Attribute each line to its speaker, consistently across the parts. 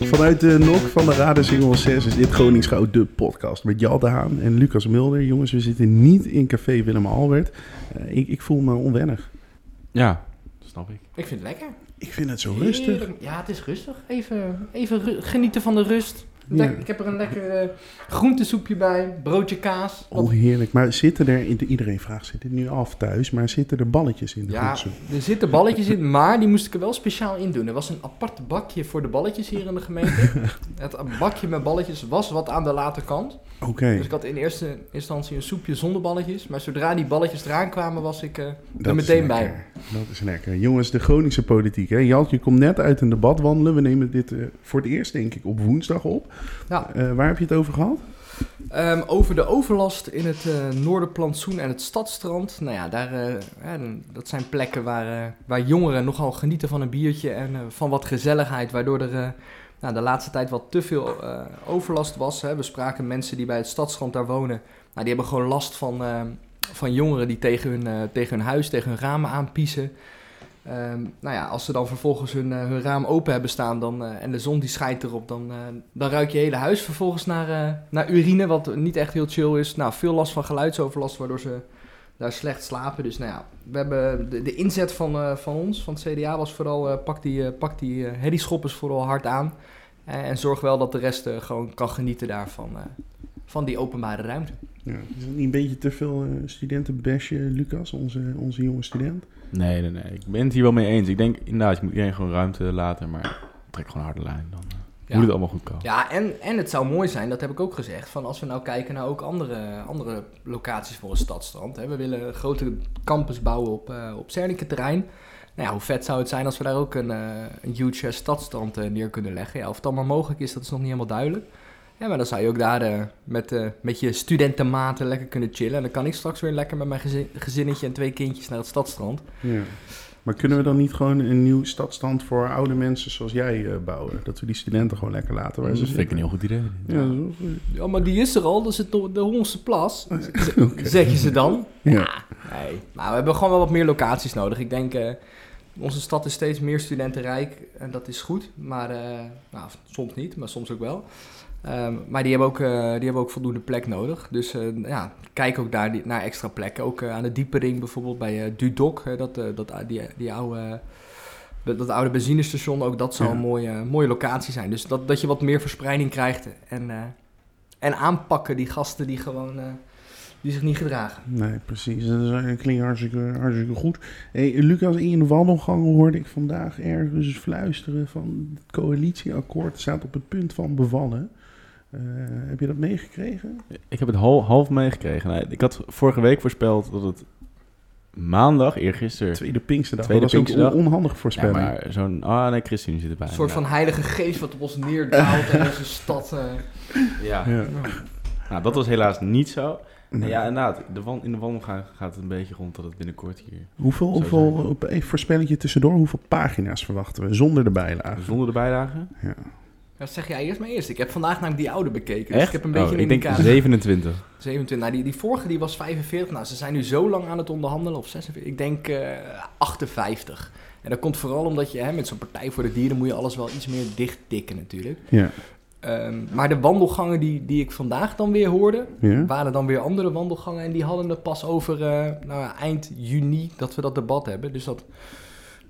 Speaker 1: Vanuit de nok van de Radar Single 6 is dit Gronings Goud de podcast. Met Jal de Haan en Lucas Mulder. Jongens, we zitten niet in café Willem Albert. Eh, ik, ik voel me onwennig.
Speaker 2: Ja, snap ik.
Speaker 3: Ik vind het lekker.
Speaker 1: Ik vind het zo rustig.
Speaker 3: Heerlijk. Ja, het is rustig. Even, even ru- genieten van de rust. Lek-
Speaker 1: Ja.
Speaker 3: Ik heb er een lekker eh, groentesoepje bij, broodje kaas.
Speaker 1: Oh, heerlijk. Maar zitten er, iedereen vraagt zich dit nu af thuis, maar zitten er balletjes in de
Speaker 3: Ja,
Speaker 1: voedsel?
Speaker 3: er zitten balletjes in, maar die moest ik er wel speciaal in doen. Er was een apart bakje voor de balletjes hier in de gemeente. Het bakje met balletjes was wat aan de late kant.
Speaker 1: Oké.
Speaker 3: Dus ik had in eerste instantie een soepje zonder balletjes. Maar zodra die balletjes eraan kwamen, was ik eh,
Speaker 1: Dat
Speaker 3: er
Speaker 1: is
Speaker 3: meteen bij.
Speaker 1: lekker. Dat is lekker. Jongens, de Groningse politiek. Hè? Jalt, je komt net uit een debat wandelen. We nemen dit eh, voor het eerst, denk ik, op woensdag op.
Speaker 3: Ja.
Speaker 1: Eh, waar heb je het over gehad?
Speaker 3: Ehm, over de overlast in het eh Noorderplantsoen en het Stadstrand. Nou ja, daar, eh, ja, dan- dat zijn plekken waar, eh, waar jongeren nogal genieten van een biertje en eh, van wat gezelligheid. Waardoor er eh, nou, de laatste tijd wat te veel eh, overlast was. Hè. We spraken mensen die bij het Stadstrand daar wonen. Nou, die hebben gewoon last van, eh, van jongeren die tegen hun, eh, tegen hun huis, tegen hun ramen aanpiezen. Ehm, nou ja, als ze dan vervolgens hun, eh, hun raam open hebben staan dan, eh, en de zon die schijnt erop, dan, eh, dan ruikt je hele huis vervolgens naar, eh, naar urine, wat niet echt heel chill is. Nou, veel last van geluidsoverlast, waardoor ze daar slecht slapen. Dus nou ja, we hebben de, de inzet van, eh, van ons, van het CDA, was vooral eh, pak die, eh, pak die eh, herrieschoppers vooral hard aan. Eh, en zorg wel dat de rest eh, gewoon kan genieten daarvan, eh, van die openbare ruimte.
Speaker 1: Ja, is dat niet een beetje te veel eh, studentenbesje, Lucas, onze, onze jonge student?
Speaker 2: Nee, nee, nee. Ik ben het hier wel mee eens. Ik denk inderdaad, je moet iedereen gewoon ruimte laten, maar trek gewoon harde lijn. Dan eh, moet het allemaal goed komen.
Speaker 3: Ja, en, en het zou mooi zijn, dat heb ik ook gezegd, van als we nou kijken naar ook andere, andere locaties voor een stadstrand. Hè. We willen een grotere campus bouwen op, eh op terrein. Nou ja, hoe vet zou het zijn als we daar ook een, eh, een huge eh, stadstrand eh, neer kunnen leggen. Ja, of het allemaal mogelijk is, dat is nog niet helemaal duidelijk. Ja, maar dan zou je ook daar eh, met, eh, met je studentenmaten lekker kunnen chillen. En dan kan ik straks weer lekker met mijn gezin- gezinnetje en twee kindjes naar het stadstrand.
Speaker 1: Ja. Maar kunnen we dan niet gewoon een nieuw stadstand voor oude mensen zoals jij eh, bouwen? Dat we die studenten gewoon lekker laten waar
Speaker 2: dat
Speaker 1: ze
Speaker 2: vind ik een
Speaker 1: zitten?
Speaker 2: heel goed idee.
Speaker 1: Ja, dat is wel goed.
Speaker 3: Ja, maar die is er al, dat is het, de Hollandse Plas, zeggen ze dan.
Speaker 1: Ja.
Speaker 3: Nee, maar we hebben gewoon wel wat meer locaties nodig. Ik denk, eh, onze stad is steeds meer studentenrijk en dat is goed. Maar eh, nou, soms niet, maar soms ook wel. Ehm, maar die hebben ook, eh, die hebben ook voldoende plek nodig. Dus eh, ja, kijk ook daar die- naar extra plekken. Ook eh, aan de Diepering bijvoorbeeld bij eh, Dudok, eh, dat, eh, dat, die, die oude... eh, dat, dat oude benzinestation, ook dat zou
Speaker 1: Ja.
Speaker 3: een mooie, mooie locatie zijn. Dus dat, dat je wat meer verspreiding krijgt en, eh, en aanpakken die gasten die gewoon eh, die zich niet gedragen.
Speaker 1: Nee, precies. Dat is, eh, klinkt hartstikke, hartstikke goed. Hey, Lucas, in de wandelgang hoorde ik vandaag ergens fluisteren van het coalitieakkoord staat op het punt van bevallen. Eh, heb je dat meegekregen?
Speaker 2: Ik heb het hal- half meegekregen. Nou, ik had vorige week voorspeld dat het maandag, eergisteren...
Speaker 1: Tweede Pinksterdag.
Speaker 2: Tweede
Speaker 1: dat was ook
Speaker 2: Pinksterdag.
Speaker 1: on- onhandig
Speaker 2: Ja,
Speaker 1: voorspelling.
Speaker 2: maar zo'n... Ah, nee, Christine zit erbij.
Speaker 3: Een soort van heilige geest wat op ons neerdaalt en onze stad. eh,
Speaker 2: Ja.
Speaker 1: Ja.
Speaker 2: Nou, dat was helaas niet zo.
Speaker 1: Nee.
Speaker 2: Nou Ja, inderdaad. De wan- in de wandelgang gaat het een beetje rond dat het binnenkort hier...
Speaker 1: Hoeveel,
Speaker 2: Zo
Speaker 1: hoeveel
Speaker 2: zijn.
Speaker 1: op even voorspelletje tussendoor, hoeveel pagina's verwachten we zonder de bijlage?
Speaker 2: Zonder de bijlagen.
Speaker 3: dat zeg jij eerst maar eerst. Ik heb vandaag namelijk die oude bekeken. Dus
Speaker 2: Echt?
Speaker 3: ik heb een beetje
Speaker 2: Oh,
Speaker 3: een
Speaker 2: ik denk
Speaker 3: indicatie.
Speaker 2: 27.
Speaker 3: 27. Nou, die, die vorige die was 45. Nou, ze zijn nu zo lang aan het onderhandelen. Of 46. Ik denk eh, 58. En dat komt vooral omdat je hè, met zo'n Partij voor de Dieren moet je alles wel iets meer dichttikken natuurlijk.
Speaker 1: Ja.
Speaker 3: Ehm, maar de wandelgangen die, die ik vandaag dan weer hoorde,
Speaker 2: Hm?
Speaker 1: ja?
Speaker 3: waren dan weer andere wandelgangen. En die hadden het pas over eh, nou ja, eind juni dat we dat debat hebben. Dus dat,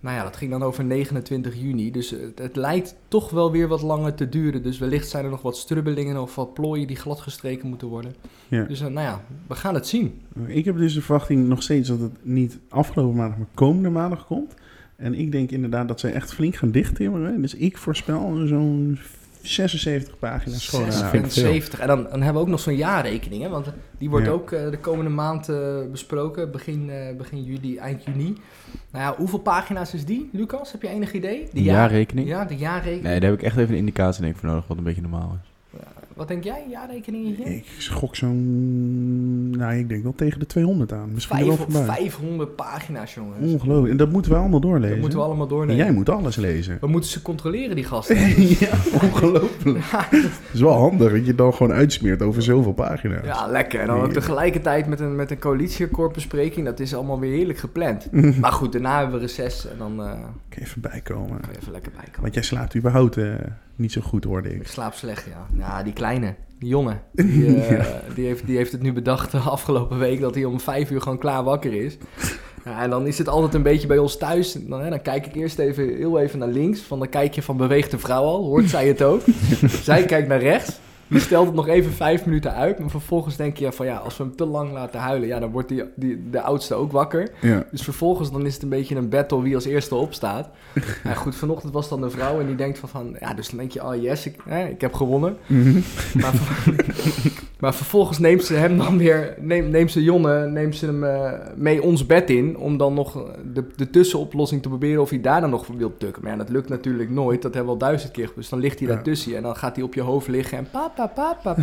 Speaker 3: nou ja, dat ging dan over 29 juni. Dus het, het lijkt toch wel weer wat langer te duren. Dus wellicht zijn er nog wat strubbelingen of wat plooien die gladgestreken moeten worden.
Speaker 1: Ja.
Speaker 3: Dus eh, nou ja, we gaan het zien.
Speaker 1: Ik heb dus de verwachting nog steeds dat het niet afgelopen maandag, maar komende maandag komt. En ik denk inderdaad dat ze echt flink gaan dichttimmeren. Dus ik voorspel zo'n 76 pagina's gewoon aan.
Speaker 2: vind ik veel.
Speaker 3: 70. En dan, dan hebben we ook nog zo'n jaarrekening. Hè? Want die wordt
Speaker 1: Ja.
Speaker 3: ook eh, de komende maand eh, besproken. Begin, eh, begin juli, eind juni. Nou ja, hoeveel pagina's is die, Lucas? Heb je enig idee?
Speaker 2: De
Speaker 3: jaar-
Speaker 2: jaarrekening?
Speaker 3: Ja, de jaarrekening.
Speaker 2: Nee, daar heb ik echt even een indicatie denk ik, voor nodig, wat een beetje normaal is.
Speaker 3: Wat denk jij? Jaarrekening hier?
Speaker 1: Ik schok zo'n... Nou, ik denk wel tegen de 200 aan. Misschien wel
Speaker 3: Vijf-
Speaker 1: voorbij.
Speaker 3: 500 pagina's, jongens.
Speaker 1: Ongelooflijk. En dat moeten we allemaal doorlezen.
Speaker 3: Dat moeten we allemaal
Speaker 1: En
Speaker 3: doornemen.
Speaker 1: jij moet alles lezen.
Speaker 3: We moeten ze controleren, die gasten.
Speaker 1: ja, ongelooflijk. Het is wel handig dat je dan gewoon uitsmeert over zoveel pagina's.
Speaker 3: Ja, lekker. En dan ook tegelijkertijd met een, met een coalitieakkoord bespreking. Dat is allemaal weer heerlijk gepland. Maar goed, daarna hebben we reces en dan eh,
Speaker 1: Ik even bijkomen.
Speaker 3: kan je even lekker bijkomen.
Speaker 1: Want jij slaapt überhaupt eh, niet zo goed, hoorde
Speaker 3: Ik
Speaker 1: ik.
Speaker 3: slaap slecht, ja. Ja, die kleine, die jongen. Die, eh, die, heeft, die heeft het nu bedacht de afgelopen week dat hij om vijf uur gewoon klaar wakker is. Ja, en dan is het altijd een beetje bij ons thuis. En Dan, hè, dan kijk ik eerst even heel even naar links. Van dan kijk je van beweegt de vrouw al. Hoort zij het ook? zij kijkt naar rechts. Die stelt het nog even vijf minuten uit. Maar vervolgens denk je ja, van ja, als we hem te lang laten huilen, ja, dan wordt die, die, de oudste ook wakker.
Speaker 1: Ja.
Speaker 3: Dus vervolgens dan is het een beetje een battle wie als eerste opstaat. En goed, vanochtend was dan een vrouw en die denkt van, van ja, dus dan denk je, oh yes, ik, hè, ik heb gewonnen.
Speaker 1: Mhm.
Speaker 3: Maar, ver- maar vervolgens neemt ze hem dan weer, neemt, neemt ze Jonne, neemt ze hem eh, mee ons bed in. Om dan nog de, de tussenoplossing te proberen of hij daar dan nog wil tukken. Maar ja, dat lukt natuurlijk nooit. Dat hebben we al duizend keer geprobeerd. Dus dan ligt hij
Speaker 1: Ja.
Speaker 3: daar tussen je en dan gaat hij op je hoofd liggen en papa, papa, papa.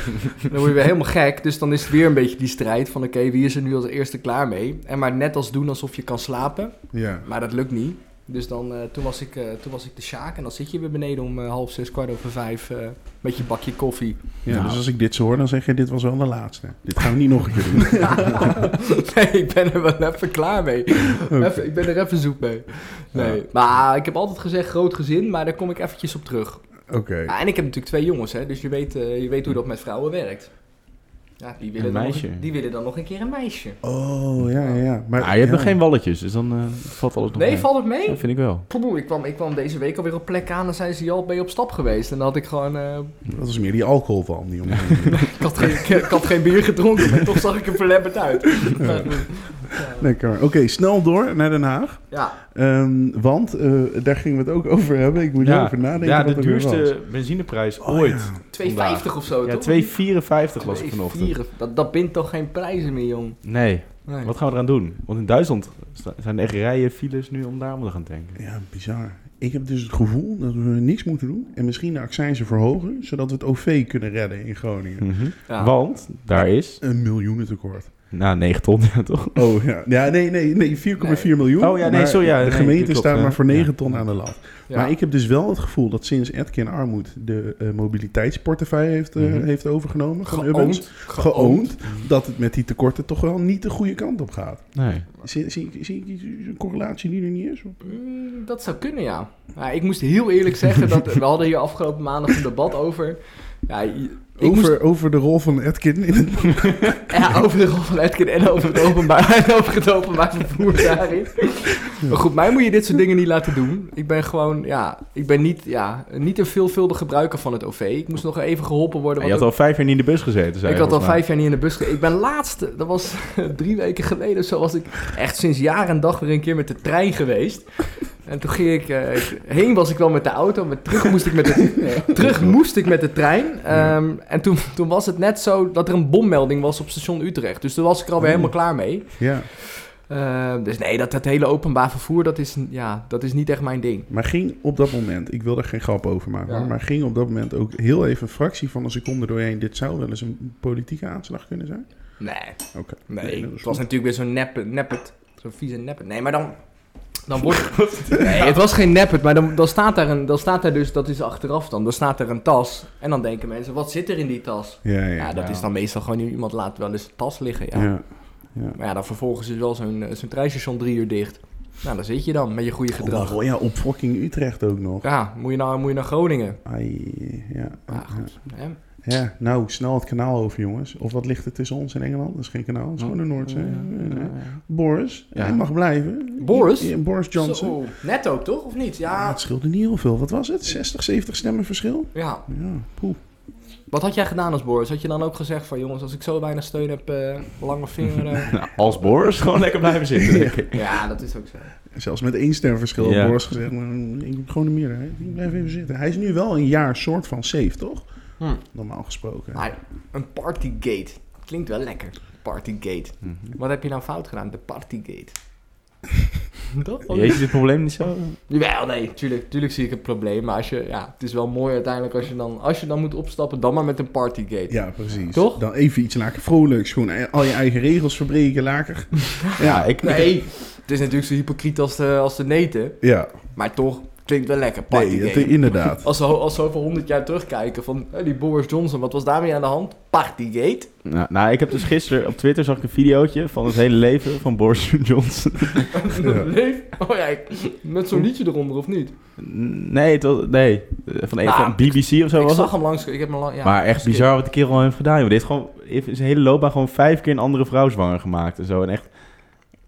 Speaker 3: dan word je weer helemaal gek. Dus dan is het weer een beetje die strijd van oké, wie is er nu als eerste klaar mee? En maar net als doen alsof je kan slapen.
Speaker 1: ja.
Speaker 3: Maar dat lukt niet. Dus dan, eh, toen, was ik, eh, toen was ik de Sjaak en dan zit je weer beneden om eh, half zes, kwart over vijf eh, met je bakje koffie.
Speaker 1: Ja,
Speaker 2: Nou.
Speaker 1: dus als ik dit zo hoor, dan zeg je, dit was wel de laatste. Dit gaan we niet nog een keer doen.
Speaker 3: nee, ik ben er wel even klaar mee. Even, ik ben er even zoek mee. Nee. Maar ik heb altijd gezegd groot gezin, maar daar kom ik eventjes op terug.
Speaker 1: Oké.
Speaker 3: Ah, en ik heb natuurlijk twee jongens, hè, dus je weet, eh, je weet hoe dat met vrouwen werkt. Ja, die willen,
Speaker 2: Een
Speaker 3: dan
Speaker 2: meisje.
Speaker 3: Nog, die willen dan nog een keer een meisje.
Speaker 1: Oh, ja, ja, ja. Maar,
Speaker 2: Ah, je hebt
Speaker 1: ja.
Speaker 2: nog geen walletjes, dus dan eh, valt alles nog
Speaker 3: nee,
Speaker 2: mee.
Speaker 3: valt het mee?
Speaker 2: Dat vind ik wel.
Speaker 3: Poeh, ik, kwam, ik kwam deze week alweer op plek aan en zijn ze al bij op stap geweest. En dan had ik gewoon eh,
Speaker 1: Dat was meer die alcohol van die jongen.
Speaker 3: Ik had, geen, ik, ik had geen bier gedronken, maar toch zag ik er verlepperd uit. Ja.
Speaker 1: Lekker. Oké, snel door naar Den Haag.
Speaker 3: Ja,
Speaker 1: Ehm, want eh, daar gingen we het ook over hebben. Ik moet
Speaker 2: Ja.
Speaker 1: erover nadenken.
Speaker 2: Ja,
Speaker 1: wat
Speaker 2: de
Speaker 1: het weer was.
Speaker 2: duurste benzineprijs
Speaker 1: Oh,
Speaker 2: ooit.
Speaker 1: ja.
Speaker 3: 2,50 of zo,
Speaker 2: Ja,
Speaker 3: Oh, toch?
Speaker 2: 2,54 was het vanochtend.
Speaker 3: 2,4. Dat, dat bindt toch geen prijzen meer, jong?
Speaker 2: Nee,
Speaker 3: Nee.
Speaker 2: wat gaan we eraan doen? Want in Duitsland sta- zijn er echt rijen, files nu om daarom te gaan tanken.
Speaker 1: Ja, bizar. Ik heb dus het gevoel dat we niks moeten doen en misschien de accijnzen verhogen, zodat we het OV kunnen redden in Groningen.
Speaker 2: Mhm.
Speaker 3: Ja.
Speaker 2: Want daar is,
Speaker 1: Een miljoenentekort.
Speaker 2: nou 9 ton ja, toch?
Speaker 1: Oh ja, ja nee, nee, nee 4,4 miljoen.
Speaker 2: Oh ja, nee,
Speaker 1: maar
Speaker 2: sorry, ja,
Speaker 1: de
Speaker 2: nee,
Speaker 1: gemeente
Speaker 2: klopt,
Speaker 1: staat
Speaker 2: ja.
Speaker 1: maar voor 9
Speaker 2: Ja.
Speaker 1: ton aan de lat.
Speaker 3: Ja.
Speaker 1: Maar ik heb dus wel het gevoel dat sinds Edkin Armoed de eh, mobiliteitsportefeuille heeft, eh,
Speaker 2: Mhm.
Speaker 1: heeft overgenomen van
Speaker 3: Geoond.
Speaker 1: Urbans,
Speaker 3: Geoond.
Speaker 1: geoond, dat het met die tekorten toch wel niet de goede kant op gaat.
Speaker 2: Nee.
Speaker 1: Zie, zie, zie ik een correlatie die er niet is?
Speaker 3: Mm, Dat zou kunnen, ja. Ja, ik moest heel eerlijk zeggen dat we hadden hier afgelopen maandag een debat over. Ja, je- ik
Speaker 1: Over,
Speaker 3: moest
Speaker 1: over de rol van Edkin in het
Speaker 3: ja, over de rol van Edkin en over het openbaar, en over het openbaar vervoer daarin. Maar goed, mij moet je dit soort dingen niet laten doen. Ik ben gewoon, ja, ik ben niet, ja, niet een veelvuldig gebruiker van het OV. Ik moest nog even geholpen worden.
Speaker 2: je
Speaker 3: want
Speaker 2: had al vijf jaar niet in de bus gezeten, zei
Speaker 3: ik
Speaker 2: je
Speaker 3: had al
Speaker 2: volgens mij.
Speaker 3: vijf jaar niet in de bus ge- Ik ben laatst, dat was drie weken geleden of zo, was ik echt sinds jaar en dag weer een keer met de trein geweest. En toen ging ik, eh, ik- heen was ik wel met de auto, maar terug moest ik met de, terug moest ik met de trein. Ehm, en toen, toen was het net zo dat er een bommelding was op station Utrecht. Dus toen was ik er
Speaker 2: Oh.
Speaker 3: alweer helemaal klaar mee.
Speaker 1: Ja,
Speaker 3: Ehm, dus nee, dat, dat hele openbaar vervoer, dat is, ja, dat is niet echt mijn ding.
Speaker 1: maar ging op dat moment, ik wil daar geen grap over maken,
Speaker 3: Ja.
Speaker 1: hoor, maar ging op dat moment ook heel even een fractie van een seconde doorheen. Dit zou wel eens een politieke aanslag kunnen zijn.
Speaker 3: Nee.
Speaker 1: Oké.
Speaker 3: Nee,
Speaker 1: dat
Speaker 3: het
Speaker 1: is
Speaker 3: was
Speaker 1: goed.
Speaker 3: natuurlijk weer zo'n neppet, neppet. Zo'n vieze neppet. Nee, maar dan... Dan wordt Nee, het was geen neppet, maar dan, dan, staat daar een, dan staat daar dus... Dat is achteraf dan. Dan staat er een tas. En dan denken mensen, wat zit er in die tas?
Speaker 1: Ja, ja.
Speaker 3: Ja, dat
Speaker 2: ja.
Speaker 3: is dan meestal gewoon... Iemand laat wel eens een tas liggen, ja.
Speaker 1: ja.
Speaker 3: Maar ja, dan vervolgens is wel zo'n eh, zo'n treinstation drie uur dicht. Nou, dan zit je dan met je goede
Speaker 1: Oh,
Speaker 3: gedrag.
Speaker 1: wel, ja, op fucking Utrecht ook nog.
Speaker 3: Ja, moet je, naar, moet je naar Groningen.
Speaker 1: Ai, ja.
Speaker 3: Ja, goed. Hè?
Speaker 1: ja, nou, snel het kanaal over, jongens. Of wat ligt er tussen ons en Engeland? Dat is geen kanaal, dat is gewoon de Noordzee. Nee, nee. Boris,
Speaker 2: Ja.
Speaker 1: hij mag blijven.
Speaker 3: Boris?
Speaker 1: Ja, Boris Johnson.
Speaker 3: Zo, net ook, toch? Of niet?
Speaker 1: Ja,
Speaker 3: Ja.
Speaker 1: het scheelde niet heel veel. Wat was het? 60, 70 stemmen verschil?
Speaker 3: ja.
Speaker 1: Ja, poeh.
Speaker 3: Wat had jij gedaan als Boris? Had je dan ook gezegd van... Jongens, als ik zo weinig steun heb, eh, lange vinger... eh,
Speaker 2: Nou, als Boris gewoon lekker blijven zitten. denk ik.
Speaker 3: Ja, dat is ook zo.
Speaker 1: Zelfs met één stemverschil had
Speaker 2: Ja.
Speaker 1: Boris gezegd, "Mm, ik heb gewoon een meerderheid. Ik blijf even zitten. Hij is nu wel een jaar soort van safe, toch?
Speaker 3: Hm.
Speaker 1: Normaal gesproken.
Speaker 3: Maar een partygate. Klinkt wel lekker. Partygate.
Speaker 2: Mhm.
Speaker 3: Wat heb je nou fout gedaan? De partygate. Toch? Of niet?
Speaker 2: Jeetje, dit probleem niet zo.
Speaker 3: Jawel, nee. Tuurlijk, tuurlijk zie ik het probleem. Maar als je, ja, het is wel mooi uiteindelijk als je dan, als je dan moet opstappen, dan maar met een partygate.
Speaker 1: Ja, precies.
Speaker 3: Toch?
Speaker 1: Dan even iets laker vrolijks. Gewoon e- al je eigen regels verbreken, laker.
Speaker 2: Ja, ik, ik-
Speaker 3: Nee, het is natuurlijk zo hypocriet als de, als de neten.
Speaker 1: Ja.
Speaker 3: Maar toch, Klinkt wel lekker, party
Speaker 1: Nee, het,
Speaker 3: game.
Speaker 1: inderdaad.
Speaker 3: Als we, als we over 100 jaar terugkijken van hé, die Boris Johnson, wat was daarmee aan de hand? Partygate.
Speaker 2: Nou, nou, ik heb dus gisteren op Twitter zag ik een videootje van het hele leven van Boris Johnson.
Speaker 1: Ja.
Speaker 3: Leef. Oh ja, ik- met zo'n liedje eronder of niet?
Speaker 2: Nee, het was- nee. eh, Van, een,
Speaker 3: Nou,
Speaker 2: van BBC of zo
Speaker 3: ik
Speaker 2: was
Speaker 3: zag
Speaker 2: het.
Speaker 3: hem langs. Ik heb hem lang, ja,
Speaker 2: maar echt
Speaker 3: skip.
Speaker 2: bizar wat de kerel heeft gedaan. joh. Die heeft gewoon heeft zijn hele loopbaan gewoon vijf keer een andere vrouw zwanger gemaakt en zo. En echt,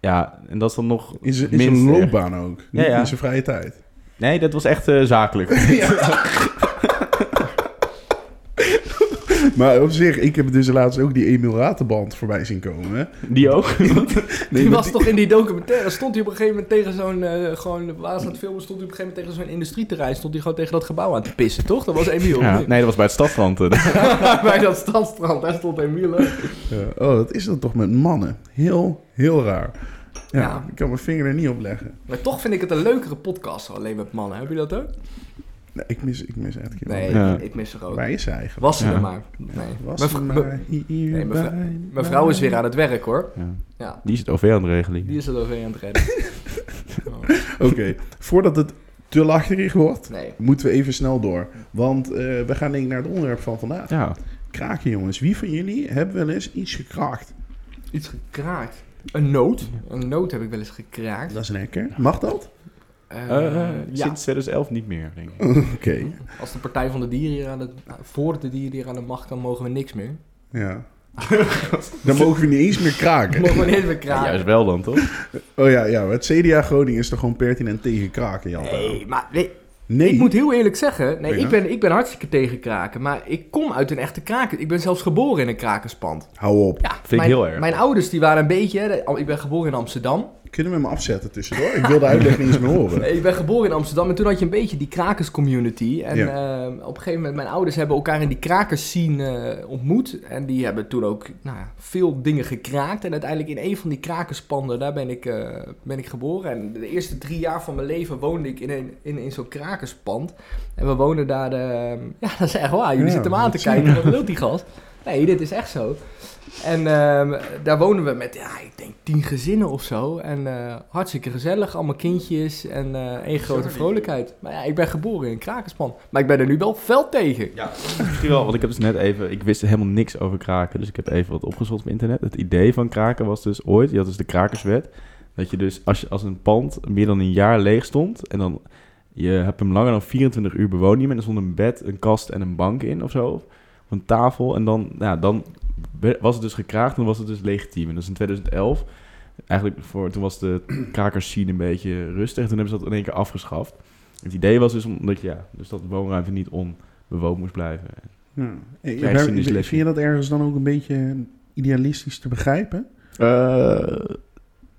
Speaker 2: ja, en dat is dan nog
Speaker 1: In zijn in zijn
Speaker 3: eh,
Speaker 2: minder.
Speaker 1: loopbaan ook. Niet
Speaker 2: Ja, ja.
Speaker 1: in zijn vrije tijd.
Speaker 2: Nee, dat was echt eh, zakelijk.
Speaker 1: Maar op zich, ik heb dus laatst ook die Emil Ratenband voorbij zien komen. hè.
Speaker 2: Die ook.
Speaker 1: Nee,
Speaker 3: die
Speaker 1: maar
Speaker 3: was toch in die documentaire, stond hij op een gegeven moment tegen zo'n, eh, gewoon, waar ze aan het filmen, stond hij op een gegeven moment tegen zo'n industrieterrein, stond hij gewoon tegen dat gebouw aan te pissen, toch? Dat was Emiel.
Speaker 2: Ja, nee, dat was bij het stadstrand. eh.
Speaker 3: Bij dat stadstrand, daar stond Emiel. hè.
Speaker 1: Ja, oh, dat is dan toch met mannen. Heel, heel raar. Ja,
Speaker 3: Ja.
Speaker 1: Ik kan mijn vinger er niet op leggen.
Speaker 3: Maar toch vind ik het een leukere podcast, alleen met mannen. Heb je dat ook?
Speaker 1: Nee, ik mis, ik mis eigenlijk
Speaker 3: Nee,
Speaker 1: wel.
Speaker 2: Ja.
Speaker 3: ik mis haar ook.
Speaker 1: Waar is ze eigenlijk?
Speaker 3: Was ze
Speaker 2: Ja.
Speaker 3: er maar. Nee.
Speaker 1: Was
Speaker 3: Mijn
Speaker 1: ze
Speaker 3: vr-
Speaker 1: maar hier
Speaker 3: nee, mijn
Speaker 1: bij
Speaker 3: Mijn vrouw is weer
Speaker 1: mij?
Speaker 3: aan het werk, hoor.
Speaker 2: Ja.
Speaker 3: Ja,
Speaker 2: Die is het OV aan het regelen.
Speaker 3: die is er doorheen aan het redden. Oh,
Speaker 1: Oké, voordat het te lacherig wordt,
Speaker 3: nee.
Speaker 1: moeten we even snel door. Want eh, we gaan denk ik naar het onderwerp van vandaag.
Speaker 2: Ja.
Speaker 1: Kraken jongens. Wie van jullie hebben wel eens iets gekraakt?
Speaker 3: Iets gekraakt. Een noot. Een noot heb ik wel eens gekraakt.
Speaker 1: Dat is lekker. Mag dat?
Speaker 3: Eh,
Speaker 2: Eh,
Speaker 3: ja.
Speaker 2: Sinds 2011 niet meer, denk ik.
Speaker 1: Oké.
Speaker 3: Als de Partij van de Dieren hier aan de, nou, voor de dieren hier aan de macht kan, mogen we niks meer.
Speaker 1: Ja. Dan mogen we niet eens meer kraken.
Speaker 3: Mogen we niet meer
Speaker 2: Ja,
Speaker 3: kraken.
Speaker 2: juist wel dan, toch?
Speaker 1: Oh ja, ja maar het CDA Groningen is toch gewoon pertinent tegen kraken, Jan?
Speaker 3: Nee, maar nee,
Speaker 1: Nee.
Speaker 3: ik moet heel eerlijk zeggen, nee,
Speaker 1: Ja.
Speaker 3: ik, ben, ik ben hartstikke tegen kraken, maar ik kom uit een echte kraken. Ik ben zelfs geboren in een krakenspand.
Speaker 1: Hou op.
Speaker 3: Ja,
Speaker 2: ik
Speaker 3: mijn,
Speaker 2: heel erg.
Speaker 3: Mijn ouders die waren een beetje, hè, de- ik ben geboren in Amsterdam.
Speaker 1: Kunnen we hem afzetten tussendoor? Ik wil de uitleg niet eens meer horen.
Speaker 3: Nee, ik ben geboren in Amsterdam en toen had je een beetje die krakerscommunity. En
Speaker 1: Ja.
Speaker 3: eh, op een gegeven moment, mijn ouders hebben elkaar in die krakerscene eh, ontmoet. En die hebben toen ook nou, ja, veel dingen gekraakt. En uiteindelijk in een van die krakerspanden, daar ben ik, eh, ben ik geboren. En de eerste drie jaar van mijn leven woonde ik in, een, in, in zo'n krakerspand. En we woonden daar, eh, ja dat is echt waar, jullie
Speaker 1: Ja,
Speaker 3: zitten me aan te
Speaker 1: dat zie
Speaker 3: kijken, wat wil die gast? Nee, dit is echt zo. En ehm, daar wonen we met, ja, ik denk tien gezinnen of zo. En eh, hartstikke gezellig, allemaal kindjes en eh één grote vrolijkheid. Maar ja, ik ben geboren in Krakenspan. Maar ik ben er nu wel fel tegen.
Speaker 2: Ja, misschien wel, want ik heb dus net even... Ik wist helemaal niks over kraken, dus ik heb even wat opgezocht op internet. Het idee van kraken was dus ooit, je had dus de krakerswet... dat je dus als, je, als een pand meer dan een jaar leeg stond... en dan je hebt hem langer dan 24 uur bewoond niet meer... en er stond een bed, een kast en een bank in of zo... of een tafel, en dan, ja, dan we- was het dus gekraakt en was het dus legitiem. En dat is in 2011... Eigenlijk voor, toen was de krakerscene een beetje rustig. en Toen hebben ze dat in één keer afgeschaft. Het idee was dus omdat ja, dus dat de woonruimte niet onbewoond moest blijven.
Speaker 1: Ja. Hey,
Speaker 2: Klein
Speaker 1: daar-
Speaker 2: cynisch
Speaker 1: vind
Speaker 2: lesje.
Speaker 1: je dat ergens dan ook een beetje idealistisch te begrijpen?
Speaker 2: Eh,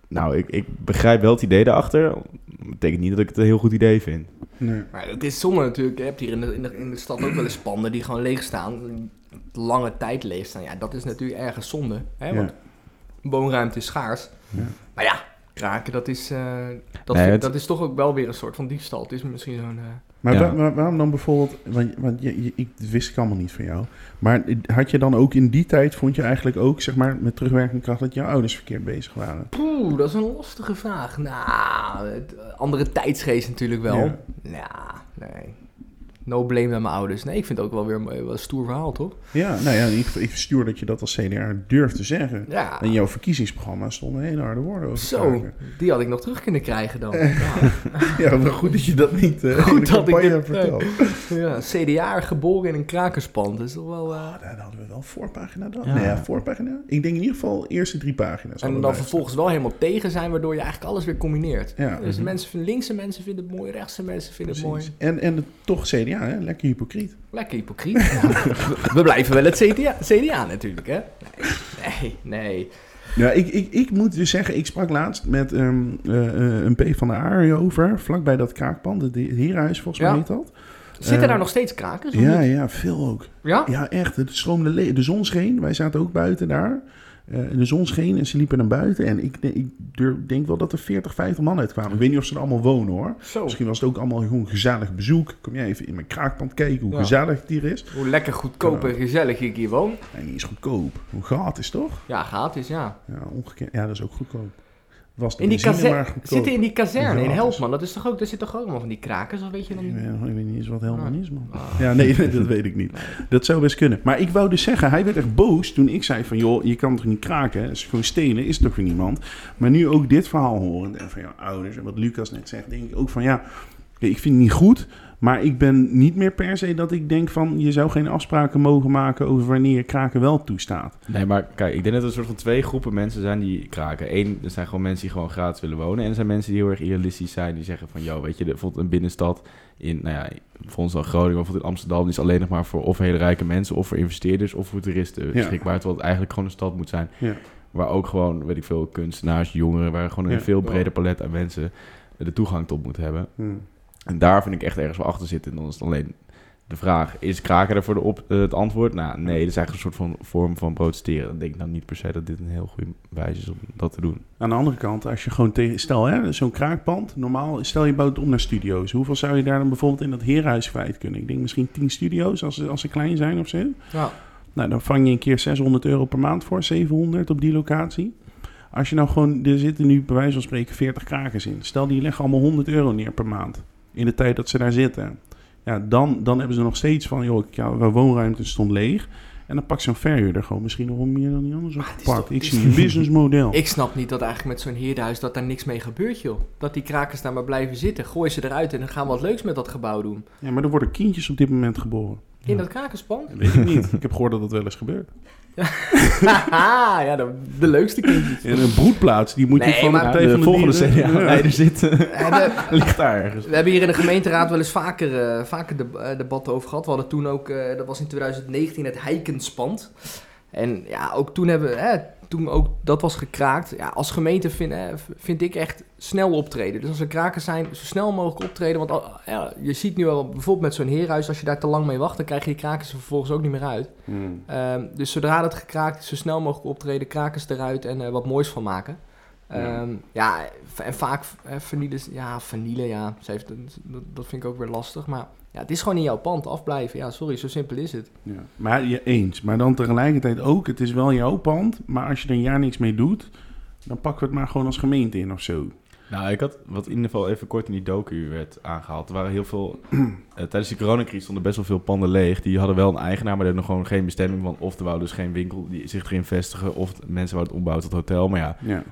Speaker 2: nou, ik, ik begrijp wel het idee daarachter. Dat betekent niet dat ik het een heel goed idee vind.
Speaker 1: Nee.
Speaker 3: Maar het is zonde natuurlijk. Je hebt hier in de, in, de, in de stad ook wel eens panden die gewoon leeg staan. Lange tijd leeg staan. Ja, dat is natuurlijk ergens zonde. Hè? Want woonruimte is schaars.
Speaker 1: Ja.
Speaker 3: Maar ja, kraken, dat is, eh, dat,
Speaker 2: Nee,
Speaker 3: vind-
Speaker 2: het-
Speaker 3: dat is toch ook wel weer een soort van diefstal. Het is misschien zo'n... eh,
Speaker 1: Maar
Speaker 2: Ja.
Speaker 1: wa- wa- waarom dan bijvoorbeeld, want, want je, je- ik, dit wist ik allemaal niet van jou, maar had je dan ook in die tijd, vond je eigenlijk ook, zeg maar, met terugwerkende kracht dat jouw ouders verkeerd bezig waren?
Speaker 3: Poeh, dat is een lastige vraag. Nou, het- andere tijdsgeest natuurlijk wel.
Speaker 1: Ja.
Speaker 3: Ja, nee. No blame aan mijn ouders. Nee, ik vind het ook wel weer een, wel een stoer verhaal, toch?
Speaker 1: Ja, nou ja, in ieder geval even stuur dat je dat als CDA durft te zeggen.
Speaker 3: Ja.
Speaker 1: In jouw verkiezingsprogramma stonden hele harde woorden over.
Speaker 3: Zo,
Speaker 1: kraken.
Speaker 3: die had ik nog terug kunnen krijgen dan.
Speaker 1: Ja, maar goed dat je dat niet eh
Speaker 3: Goed
Speaker 1: in de
Speaker 3: dat ik
Speaker 1: campagne
Speaker 3: dit-
Speaker 1: hebt verteld.
Speaker 3: ja, CDA geboren in een krakerspand. Dat is toch wel... eh,
Speaker 1: Ah, daar hadden we wel voorpagina dan.
Speaker 2: Ja.
Speaker 1: Nee, ja, voorpagina. Ik denk in ieder geval eerste drie pagina's.
Speaker 3: En dan
Speaker 1: allebei.
Speaker 3: vervolgens wel helemaal tegen zijn, waardoor je eigenlijk alles weer combineert.
Speaker 1: Ja,
Speaker 3: Dus mensen vinden, linkse mensen vinden het mooi, rechtse mensen vinden
Speaker 1: precies.
Speaker 3: het mooi.
Speaker 1: En, en het- toch CDA, hè? lekker hypocriet.
Speaker 3: Lekker hypocriet. Ja. We blijven wel het CDA, CDA natuurlijk, hè? Nee, nee, nee.
Speaker 1: Ja, ik, ik, ik moet dus zeggen, ik sprak laatst met ehm, eh, eh, een P van de A over, vlakbij dat kraakpand, het herenhuis volgens mij
Speaker 3: Ja.
Speaker 1: heet dat.
Speaker 3: Zitten
Speaker 1: Eh,
Speaker 3: daar nog steeds krakers? of
Speaker 1: Ja,
Speaker 3: niet?
Speaker 1: ja, veel ook.
Speaker 3: ja?
Speaker 1: Ja, echt. Het stroomde le- de zon scheen. Wij zaten ook buiten daar. Eh, de zon scheen en ze liepen naar buiten. En ik, ik durf- denk wel dat er 40, 50 man uitkwamen. Ik weet niet of ze er allemaal wonen hoor.
Speaker 3: Zo.
Speaker 1: Misschien was het ook allemaal gewoon gezellig bezoek. Kom jij even in mijn kraakpand kijken hoe
Speaker 3: Ja.
Speaker 1: gezellig het hier is.
Speaker 3: Hoe lekker goedkoop en gezellig ik hier woon.
Speaker 1: En die is goedkoop. Hoe gratis toch?
Speaker 3: Ja, gratis, ja.
Speaker 1: Ja, ongekend. Ja, dat is ook goedkoop. was de
Speaker 3: In die
Speaker 1: benzine
Speaker 3: kaze-
Speaker 1: maar goedkoop.
Speaker 3: Zitten in die kazerne in
Speaker 1: Ja,
Speaker 3: Helpman. Dat is toch ook, daar zit toch ook allemaal van die krakers, of weet je dan?
Speaker 1: Ik weet- Ik weet niet eens wat helemaal
Speaker 3: Nee.
Speaker 1: is, man.
Speaker 3: Ah.
Speaker 1: Ja, nee, dat weet ik niet. Dat zou best kunnen. Maar ik wou dus zeggen, hij werd echt boos toen ik zei van... joh, je kan toch niet kraken? hè? Dat is gewoon stenen, is toch weer niemand? Maar nu ook dit verhaal horen en van jouw ouders... en wat Lucas net zegt, denk ik ook van ja... oké, ik vind het niet goed, maar ik ben niet meer per se dat ik denk van... je zou geen afspraken mogen maken over wanneer je kraken wel toestaat.
Speaker 2: Nee, maar kijk, ik denk dat er een soort van twee groepen mensen zijn die kraken. Eén, er zijn gewoon mensen die gewoon gratis willen wonen. En er zijn mensen die heel erg idealistisch zijn. Die zeggen van, joh, weet je, de- bijvoorbeeld een binnenstad in, nou ja, voor ons dan Groningen, maar bijvoorbeeld in Amsterdam, die is alleen nog maar voor of hele rijke mensen, of voor investeerders, of voor toeristen beschikbaar. Terwijl het eigenlijk gewoon een stad moet zijn.
Speaker 1: Ja.
Speaker 2: Waar ook gewoon, weet ik veel, kunstenaars, jongeren, waar gewoon een
Speaker 1: Ja.
Speaker 2: veel breder palet aan mensen de toegang tot moet hebben.
Speaker 1: Hmm.
Speaker 2: En daar vind ik echt ergens wel achter zitten. En dan is het alleen de vraag, is kraken ervoor de op, eh, het antwoord? Nou, nee, dat is eigenlijk een soort van vorm van protesteren. Dan denk ik nou niet per se dat dit een heel goede wijze is om dat te doen.
Speaker 1: Aan de andere kant, als je gewoon tegen... Stel, hè, zo'n kraakpand, normaal... Stel, je bouwt om naar studio's. Hoeveel zou je daar dan bijvoorbeeld in dat herenhuis kwijt kunnen? Ik denk misschien 10 studio's, als, ze- als ze klein zijn of zo.
Speaker 3: Ja.
Speaker 1: Nou, dan vang je een keer 600 euro per maand voor, 700 op die locatie. Als je nou gewoon, er zitten nu bij wijze van spreken 40 krakers in. Stel die leggen allemaal 100 euro neer per maand. In de tijd dat ze daar zitten. Ja, dan, dan hebben ze nog steeds van, joh, ik- ja, mijn woonruimte stond leeg. En dan pakt zo'n verhuurder gewoon misschien nog wel meer dan die anders
Speaker 3: Maar het is
Speaker 1: opgepakt.
Speaker 3: toch-
Speaker 1: Ik
Speaker 3: het
Speaker 1: zie
Speaker 3: is-
Speaker 1: een businessmodel.
Speaker 3: Ik snap niet dat eigenlijk met zo'n heerdenhuis dat daar niks mee gebeurt, joh. Dat die krakers daar maar blijven zitten. Gooi ze eruit en dan gaan we wat leuks met dat gebouw doen.
Speaker 1: Ja, maar er worden kindjes op dit moment geboren.
Speaker 3: In dat krakerspand.
Speaker 1: Dat weet ik niet. ik heb gehoord dat dat wel eens gebeurt.
Speaker 3: Haha, ja, de, de leukste kindjes.
Speaker 1: En een broedplaats, die moet
Speaker 3: Nee,
Speaker 1: je van de
Speaker 3: maar-
Speaker 1: Partij van Dieren- Ja.
Speaker 3: dus-
Speaker 2: leider zit,
Speaker 3: En, eh,
Speaker 2: ligt daar ergens.
Speaker 3: We hebben hier in de gemeenteraad wel eens vaker, eh, vaker de, eh, debatten over gehad. We hadden toen ook, eh, dat was in 2019, het heikenspand. En ja, ook toen hebben we, hè, toen ook dat was gekraakt. Ja, als gemeente vind, eh, vind ik echt snel optreden. Dus als er krakers zijn, zo snel mogelijk optreden. Want al- ja, je ziet nu al, bijvoorbeeld met zo'n heerhuis, als je daar te lang mee wacht, dan krijg je die krakers er vervolgens ook niet meer uit.
Speaker 1: Hmm.
Speaker 3: Ehm, dus zodra dat gekraakt is, zo snel mogelijk optreden, krakers eruit en eh, wat moois van maken. Ehm, ja. v- en vaak eh, vernielen, ze- ja, vernielen, ja, ze heeft, een- dat, dat vind ik ook weer lastig. Maar ja, het is gewoon in jouw pand, afblijven. Ja, sorry, zo simpel is het.
Speaker 1: Ja, maar je eens. Maar dan tegelijkertijd ook, het is wel jouw pand, maar als je er een jaar niks mee doet, dan pakken we het maar gewoon als gemeente in of zo.
Speaker 2: Nou, ik had wat in ieder geval even kort in die docu werd aangehaald. Er waren heel veel... eh, tijdens de coronacrisis stonden best wel veel panden leeg. Die hadden wel een eigenaar, maar die hadden nog gewoon geen bestemming. Want of er wou dus geen winkel die zich erin vestigen... of mensen wouden het ombouwen tot hotel. Maar ja,
Speaker 1: Ja,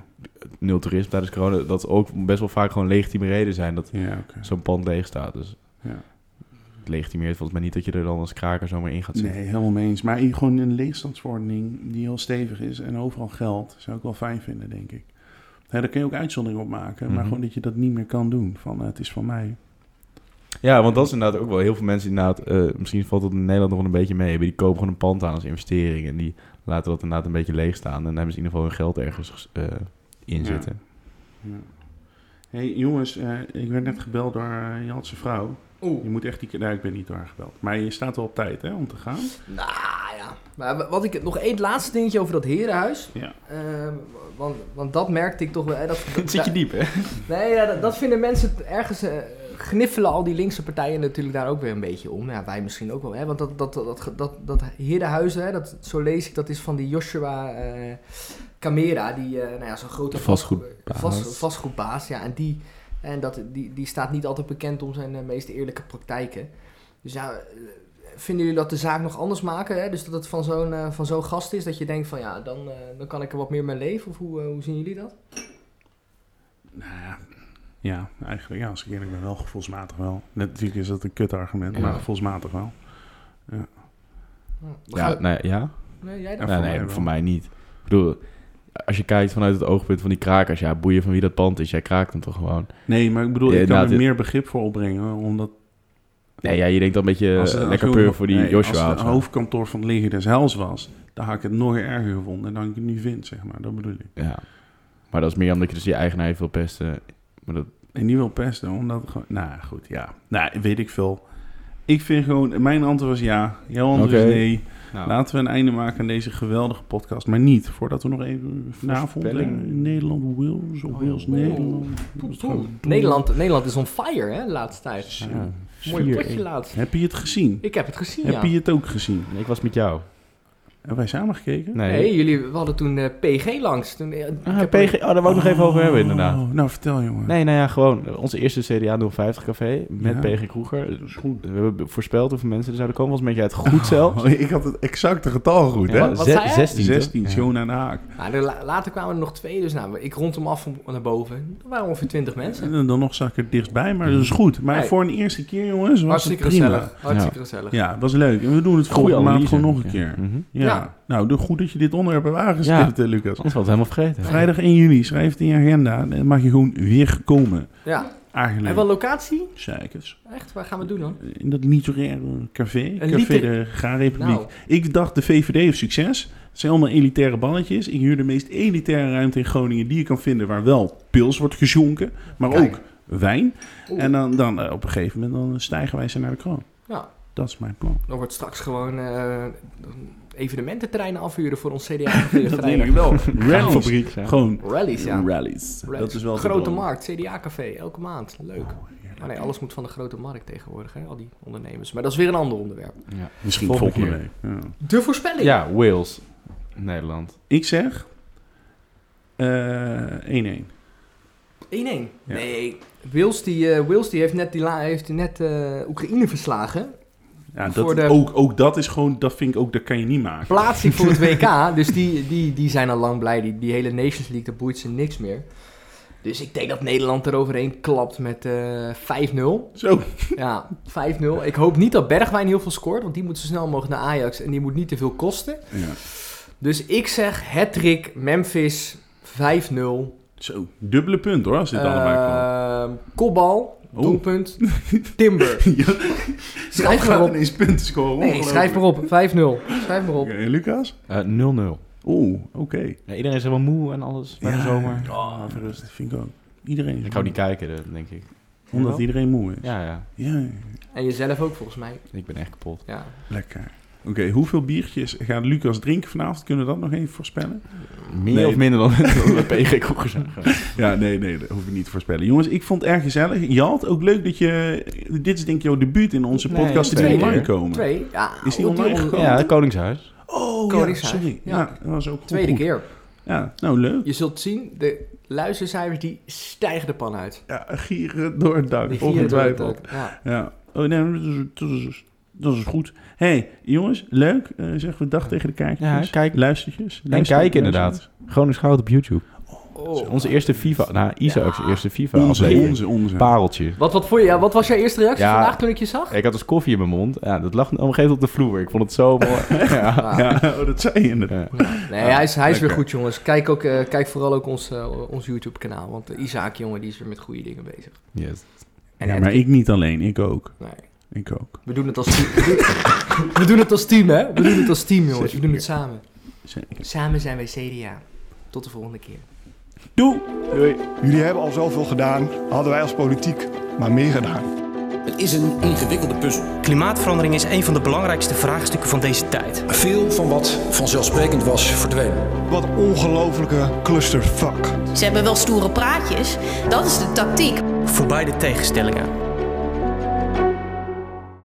Speaker 2: nul toerisme tijdens corona, dat ook best wel vaak gewoon legitieme reden zijn dat
Speaker 1: ja oké.
Speaker 2: zo'n pand leeg staat. Dus
Speaker 1: Ja.
Speaker 2: het legitimeert volgens mij niet dat je er dan als kraker zomaar in gaat zitten.
Speaker 1: Nee, helemaal mee eens. Maar gewoon een leegstandsverordening die heel stevig is en overal geldt, zou ik wel fijn vinden, denk ik. Hè, daar kun je ook uitzonderingen op maken, maar
Speaker 2: Mhm.
Speaker 1: gewoon dat je dat niet meer kan doen. Van, eh, het is van mij.
Speaker 2: Ja, want dat is inderdaad ook wel heel veel mensen die inderdaad, eh, misschien valt dat in Nederland nog wel een beetje mee, hebben die kopen gewoon een pand aan als investering en die laten dat inderdaad een beetje leeg staan en dan hebben ze in ieder geval hun geld ergens eh, in
Speaker 1: Ja.
Speaker 2: zitten.
Speaker 1: hey, jongens, eh, ik werd net gebeld door eh, Janse vrouw.
Speaker 3: Oeh.
Speaker 1: Je moet echt die... Nee, ik ben niet door haar gebeld. Maar je staat wel op tijd, hè, om te gaan.
Speaker 3: Nou ja, maar wa- wat ik, nog één laatste dingetje over dat herenhuis.
Speaker 1: Ja.
Speaker 3: Ehm, want, want dat merkte ik toch wel. hè, Dat, dat-
Speaker 2: diep, hè?
Speaker 3: Nee, ja, dat, dat vinden mensen t- ergens. eh, gniffelen al die linkse partijen natuurlijk daar ook weer een beetje om. Ja, wij misschien ook wel. Hè? Want dat, dat, dat, dat, dat, dat heerdenhuizen, hè, dat, zo lees ik, dat is van die Joshua eh Camera. Die, eh, nou ja, zo'n grote
Speaker 2: Vastgoedbaas.
Speaker 3: vast- vastgoedbaas, ja. En, die, en dat, die, die staat niet altijd bekend om zijn eh, meest eerlijke praktijken. Dus ja, eh, vinden jullie dat de zaak nog anders maken? Hè? Dus dat het van zo'n eh, van zo'n gast is dat je denkt van ja, dan, eh, dan kan ik er wat meer mee leven? Of hoe, eh, hoe zien jullie dat?
Speaker 1: Nou ja, ja, eigenlijk ja, als ik eerlijk ben wel gevoelsmatig wel. Natuurlijk is dat een kut argument,
Speaker 2: Ja.
Speaker 1: maar gevoelsmatig wel.
Speaker 3: Ja, we
Speaker 2: Ja,
Speaker 3: gaan-
Speaker 2: nee, ja?
Speaker 3: Nou, Nee, jij
Speaker 1: Ja, voor
Speaker 2: nee,
Speaker 3: dan?
Speaker 2: nee,
Speaker 1: mij wel.
Speaker 2: voor mij niet. Ik bedoel, als je kijkt vanuit het oogpunt van die krakers, ja, boeien van wie dat pand is, jij kraakt hem toch gewoon.
Speaker 1: Nee, maar ik bedoel,
Speaker 2: Ja,
Speaker 1: ik kan er
Speaker 2: inderdaad,
Speaker 1: meer begrip voor opbrengen. hoor, Omdat
Speaker 2: Nee, ja, je denkt dan een beetje
Speaker 1: als het- als
Speaker 2: eh, lekker
Speaker 1: heel-
Speaker 2: peur voor die
Speaker 1: nee,
Speaker 2: Joshua.
Speaker 1: Als
Speaker 2: of
Speaker 1: het
Speaker 2: zo.
Speaker 1: hoofdkantoor van het leger des Heils was, dan had ik het nog erger gevonden dan ik het nu vind, zeg maar. Dat bedoel ik.
Speaker 2: Ja. Maar dat is meer omdat je dus je eigenaar even wil pesten. Maar dat,
Speaker 1: En die wil pesten, omdat het gewoon... Nou, goed, ja. Nou, weet ik veel. Ik vind gewoon... Mijn antwoord was ja. Jouw antwoord
Speaker 2: Oké.
Speaker 1: is nee.
Speaker 2: nou,
Speaker 1: Laten we een einde maken aan deze geweldige podcast. Maar niet voordat we nog even vanavond... eh,
Speaker 2: Voorspelling.
Speaker 1: Nederland, Wales of
Speaker 2: Oh,
Speaker 1: Wales,
Speaker 2: ja.
Speaker 1: Nederland. Dat is
Speaker 3: Poeh,
Speaker 1: gewoon-
Speaker 3: Nederland, Nederland is on fire, hè, de laatste tijd.
Speaker 1: Zo.
Speaker 2: Ja.
Speaker 3: Mooi
Speaker 1: Vier-
Speaker 3: potje laatst.
Speaker 1: Heb je het gezien?
Speaker 3: Ik heb het gezien,
Speaker 1: Heb je
Speaker 3: ja.
Speaker 1: het ook gezien?
Speaker 2: ik was met jou.
Speaker 1: Hebben wij samen gekeken?
Speaker 2: Nee.
Speaker 3: Nee, jullie we hadden toen eh, PG langs. Toen, eh, ik
Speaker 2: Ah,
Speaker 3: heb
Speaker 2: PG, oh, daar wou ik nog even over hebben, inderdaad.
Speaker 1: Oh, Nou, vertel jongen.
Speaker 2: Nee, nou ja, gewoon onze eerste CDA 050 café met
Speaker 1: Ja.
Speaker 2: PG Kroeger.
Speaker 1: Dat is goed.
Speaker 2: We hebben voorspeld hoeveel mensen er zouden komen. Volgens mij had jij het goed zelf.
Speaker 1: Oh, ik had het exacte getal goed,
Speaker 2: Ja,
Speaker 1: hè?
Speaker 3: wat
Speaker 2: ze-
Speaker 3: zei hij?
Speaker 2: 16.
Speaker 1: 16,
Speaker 2: Ja.
Speaker 1: Joon aan de haak.
Speaker 3: Nou, er la- later kwamen er nog twee, dus nou, ik rond hem af van- naar boven. Er waren ongeveer twintig mensen.
Speaker 1: En dan nog zag ik er dichtbij, maar dat is goed. Maar
Speaker 3: Hey.
Speaker 1: voor een eerste keer, jongens, was
Speaker 3: Hartstikke
Speaker 1: het prima.
Speaker 3: gezellig. Hartstikke gezellig.
Speaker 1: Ja, het was leuk. En we doen het
Speaker 2: Goeie
Speaker 1: volgende maand
Speaker 2: analyse.
Speaker 1: gewoon nog een
Speaker 2: Ja.
Speaker 1: keer.
Speaker 2: Mhm.
Speaker 1: Ja.
Speaker 3: Ja.
Speaker 1: Nou, doe goed dat je dit onderwerp hebt aangestipt, eh, Lucas.
Speaker 2: Anders had het helemaal vergeten.
Speaker 1: Vrijdag 1 juni, schrijf het in je agenda. En dan mag je gewoon weer komen.
Speaker 3: Ja. En
Speaker 1: Eigenlijk.
Speaker 3: wel locatie?
Speaker 1: Zeikers.
Speaker 3: Echt? Waar gaan we het doen dan?
Speaker 1: In dat literaire café. Café
Speaker 3: liter-
Speaker 1: de Gaarrepubliek.
Speaker 3: Nou.
Speaker 1: Ik dacht de VVD heeft succes. Het zijn allemaal elitaire balletjes. Ik huur de meest elitaire ruimte in Groningen die je kan vinden... waar wel pils wordt gezonken, maar
Speaker 3: Kijk.
Speaker 1: ook wijn.
Speaker 3: Oeh.
Speaker 1: En dan, dan eh, op een gegeven moment dan stijgen wij ze naar de kroon.
Speaker 3: Ja.
Speaker 1: Dat is mijn plan.
Speaker 3: Dan wordt straks gewoon eh, evenemententerreinen afhuren voor ons cda terreinen
Speaker 1: wel. Rallies.
Speaker 2: Fabriek. Ja.
Speaker 1: Gewoon
Speaker 3: Rallies, ja.
Speaker 1: rallies. Dat is wel het
Speaker 3: Grote
Speaker 1: plan.
Speaker 3: markt, CDA-café, elke maand. Leuk.
Speaker 1: Oh, heerlijk.
Speaker 3: Maar nee, alles moet van de grote markt tegenwoordig, hè? al die ondernemers. Maar dat is weer een ander onderwerp.
Speaker 2: Ja.
Speaker 1: Misschien
Speaker 2: Volgende
Speaker 1: volgende, week. Ja.
Speaker 3: De voorspelling.
Speaker 2: ja, Wales. Nederland.
Speaker 1: Ik zeg eh, 1-1.
Speaker 3: 1-1.
Speaker 1: Ja.
Speaker 3: Nee, Wils die, eh, Wils die heeft net, die la- heeft net eh, Oekraïne verslagen.
Speaker 1: Ja,
Speaker 3: Voor
Speaker 1: dat,
Speaker 3: de-
Speaker 1: ook, ook dat is gewoon, dat vind ik ook, dat kan je niet maken.
Speaker 3: Plaatsing voor het WK, dus die, die, die zijn al lang blij. Die, die hele Nations League, daar boeit ze niks meer. Dus ik denk dat Nederland er overheen klapt met eh, 5-0.
Speaker 1: Zo.
Speaker 3: Ja, 5-0. Ik hoop niet dat Bergwijn heel veel scoort, want die moet zo snel mogelijk naar Ajax en die moet niet te veel kosten.
Speaker 1: Ja.
Speaker 3: Dus ik zeg hat-trick Memphis 5-0.
Speaker 1: Zo. Dubbele punt hoor, als
Speaker 3: Eh,
Speaker 1: dit allebei kwam.
Speaker 3: Ehm, Kopbal,
Speaker 1: Oh.
Speaker 3: doelpunt, Timber.
Speaker 1: Ja,
Speaker 3: Schrijf maar
Speaker 1: gaat
Speaker 3: op.
Speaker 1: ineens punten scoren.
Speaker 3: Nee, schrijf maar op. 5-0. Schrijf maar op.
Speaker 1: Oké, Lucas?
Speaker 2: Eh, 0-0.
Speaker 1: Oeh, oké.
Speaker 2: Ja, iedereen is helemaal moe en alles bij de zomer.
Speaker 1: Ja, dat vind ik ook. Iedereen. is
Speaker 2: Ik hou niet
Speaker 1: moe.
Speaker 2: kijken, dat denk ik.
Speaker 1: Omdat iedereen moe is.
Speaker 2: Ja, ja.
Speaker 1: Ja,
Speaker 3: En jezelf ook volgens mij.
Speaker 2: Ik ben echt kapot.
Speaker 3: Ja.
Speaker 1: lekker. Oké, hoeveel biertjes gaat Lucas drinken vanavond? Kunnen we dat nog even voorspellen?
Speaker 2: Meer
Speaker 1: Nee.
Speaker 2: of minder dan de PG Kroeger zeggen.
Speaker 1: Ja, nee, nee, dat hoef ik niet te voorspellen. Jongens, ik vond het erg gezellig. Jalt, ook leuk dat je... Dit is denk ik jouw debuut in onze
Speaker 2: Nee,
Speaker 1: podcast
Speaker 2: tweede.
Speaker 1: die online komen.
Speaker 3: Twee. Ja,
Speaker 1: Is die
Speaker 3: op
Speaker 1: online
Speaker 3: on-
Speaker 1: gekomen?
Speaker 2: Ja, Koningshuis.
Speaker 1: Oh, ja,
Speaker 3: Koningshuis.
Speaker 1: sorry. Ja.
Speaker 3: Ja.
Speaker 1: dat was ook
Speaker 3: Tweede
Speaker 1: goed.
Speaker 3: keer.
Speaker 1: Ja, nou leuk.
Speaker 3: Je zult zien, de luistercijfers die stijgen de pan uit.
Speaker 1: Ja, gieren door het
Speaker 3: Die
Speaker 1: dak,
Speaker 3: vieren
Speaker 1: ongetwijfeld.
Speaker 3: dat ook. Ja.
Speaker 1: Ja. Oh, nee, dat is, dat is, dat is goed. hey, jongens, leuk. Eh, zeggen we dag tegen de kijkertjes.
Speaker 2: Ja, kijk.
Speaker 1: Luistertjes.
Speaker 2: En
Speaker 1: Luister-
Speaker 2: kijken inderdaad. Koningshuis op YouTube.
Speaker 3: Oh.
Speaker 2: Onze eerste FIFA. Nou, Isaac's
Speaker 3: Ja.
Speaker 2: eerste FIFA
Speaker 1: Onze,
Speaker 2: aflevering.
Speaker 1: onze, onze.
Speaker 2: Pareltje.
Speaker 3: Wat, wat, voor je, ja, wat was jouw eerste reactie
Speaker 2: Ja.
Speaker 3: vandaag toen ik je zag?
Speaker 2: Ik had dus koffie in mijn mond. Ja, dat lag op een gegeven moment op de vloer. Ik vond het zo mooi. ja.
Speaker 3: Ah.
Speaker 1: Ja, oh, dat zei je inderdaad.
Speaker 2: Ja.
Speaker 3: Nee, hij is, hij is weer
Speaker 1: lekker.
Speaker 3: goed, jongens. Kijk, ook, eh, kijk vooral ook ons, eh, ons YouTube-kanaal. Want eh, Isaac, jongen, die is weer met goede dingen bezig.
Speaker 2: Yes.
Speaker 3: En
Speaker 1: Ja,
Speaker 3: het-
Speaker 1: maar ik niet alleen, ik ook.
Speaker 3: nee,
Speaker 1: Ik ook.
Speaker 3: we doen het als team. We doen- we doen het als team, hè? We doen het als team, jongens. We doen het samen.
Speaker 1: Zeker.
Speaker 3: Samen zijn wij CDA. Tot de volgende keer.
Speaker 1: Doei!
Speaker 2: Doei.
Speaker 4: Jullie hebben al zoveel gedaan, hadden wij als politiek maar meer gedaan.
Speaker 5: Het is een ingewikkelde puzzel.
Speaker 6: Klimaatverandering is een van de belangrijkste vraagstukken van deze tijd.
Speaker 5: Veel van wat vanzelfsprekend was, verdwenen.
Speaker 4: Wat ongelofelijke clusterfuck.
Speaker 7: Ze hebben wel stoere praatjes. Dat is de tactiek.
Speaker 6: Voorbij de tegenstellingen.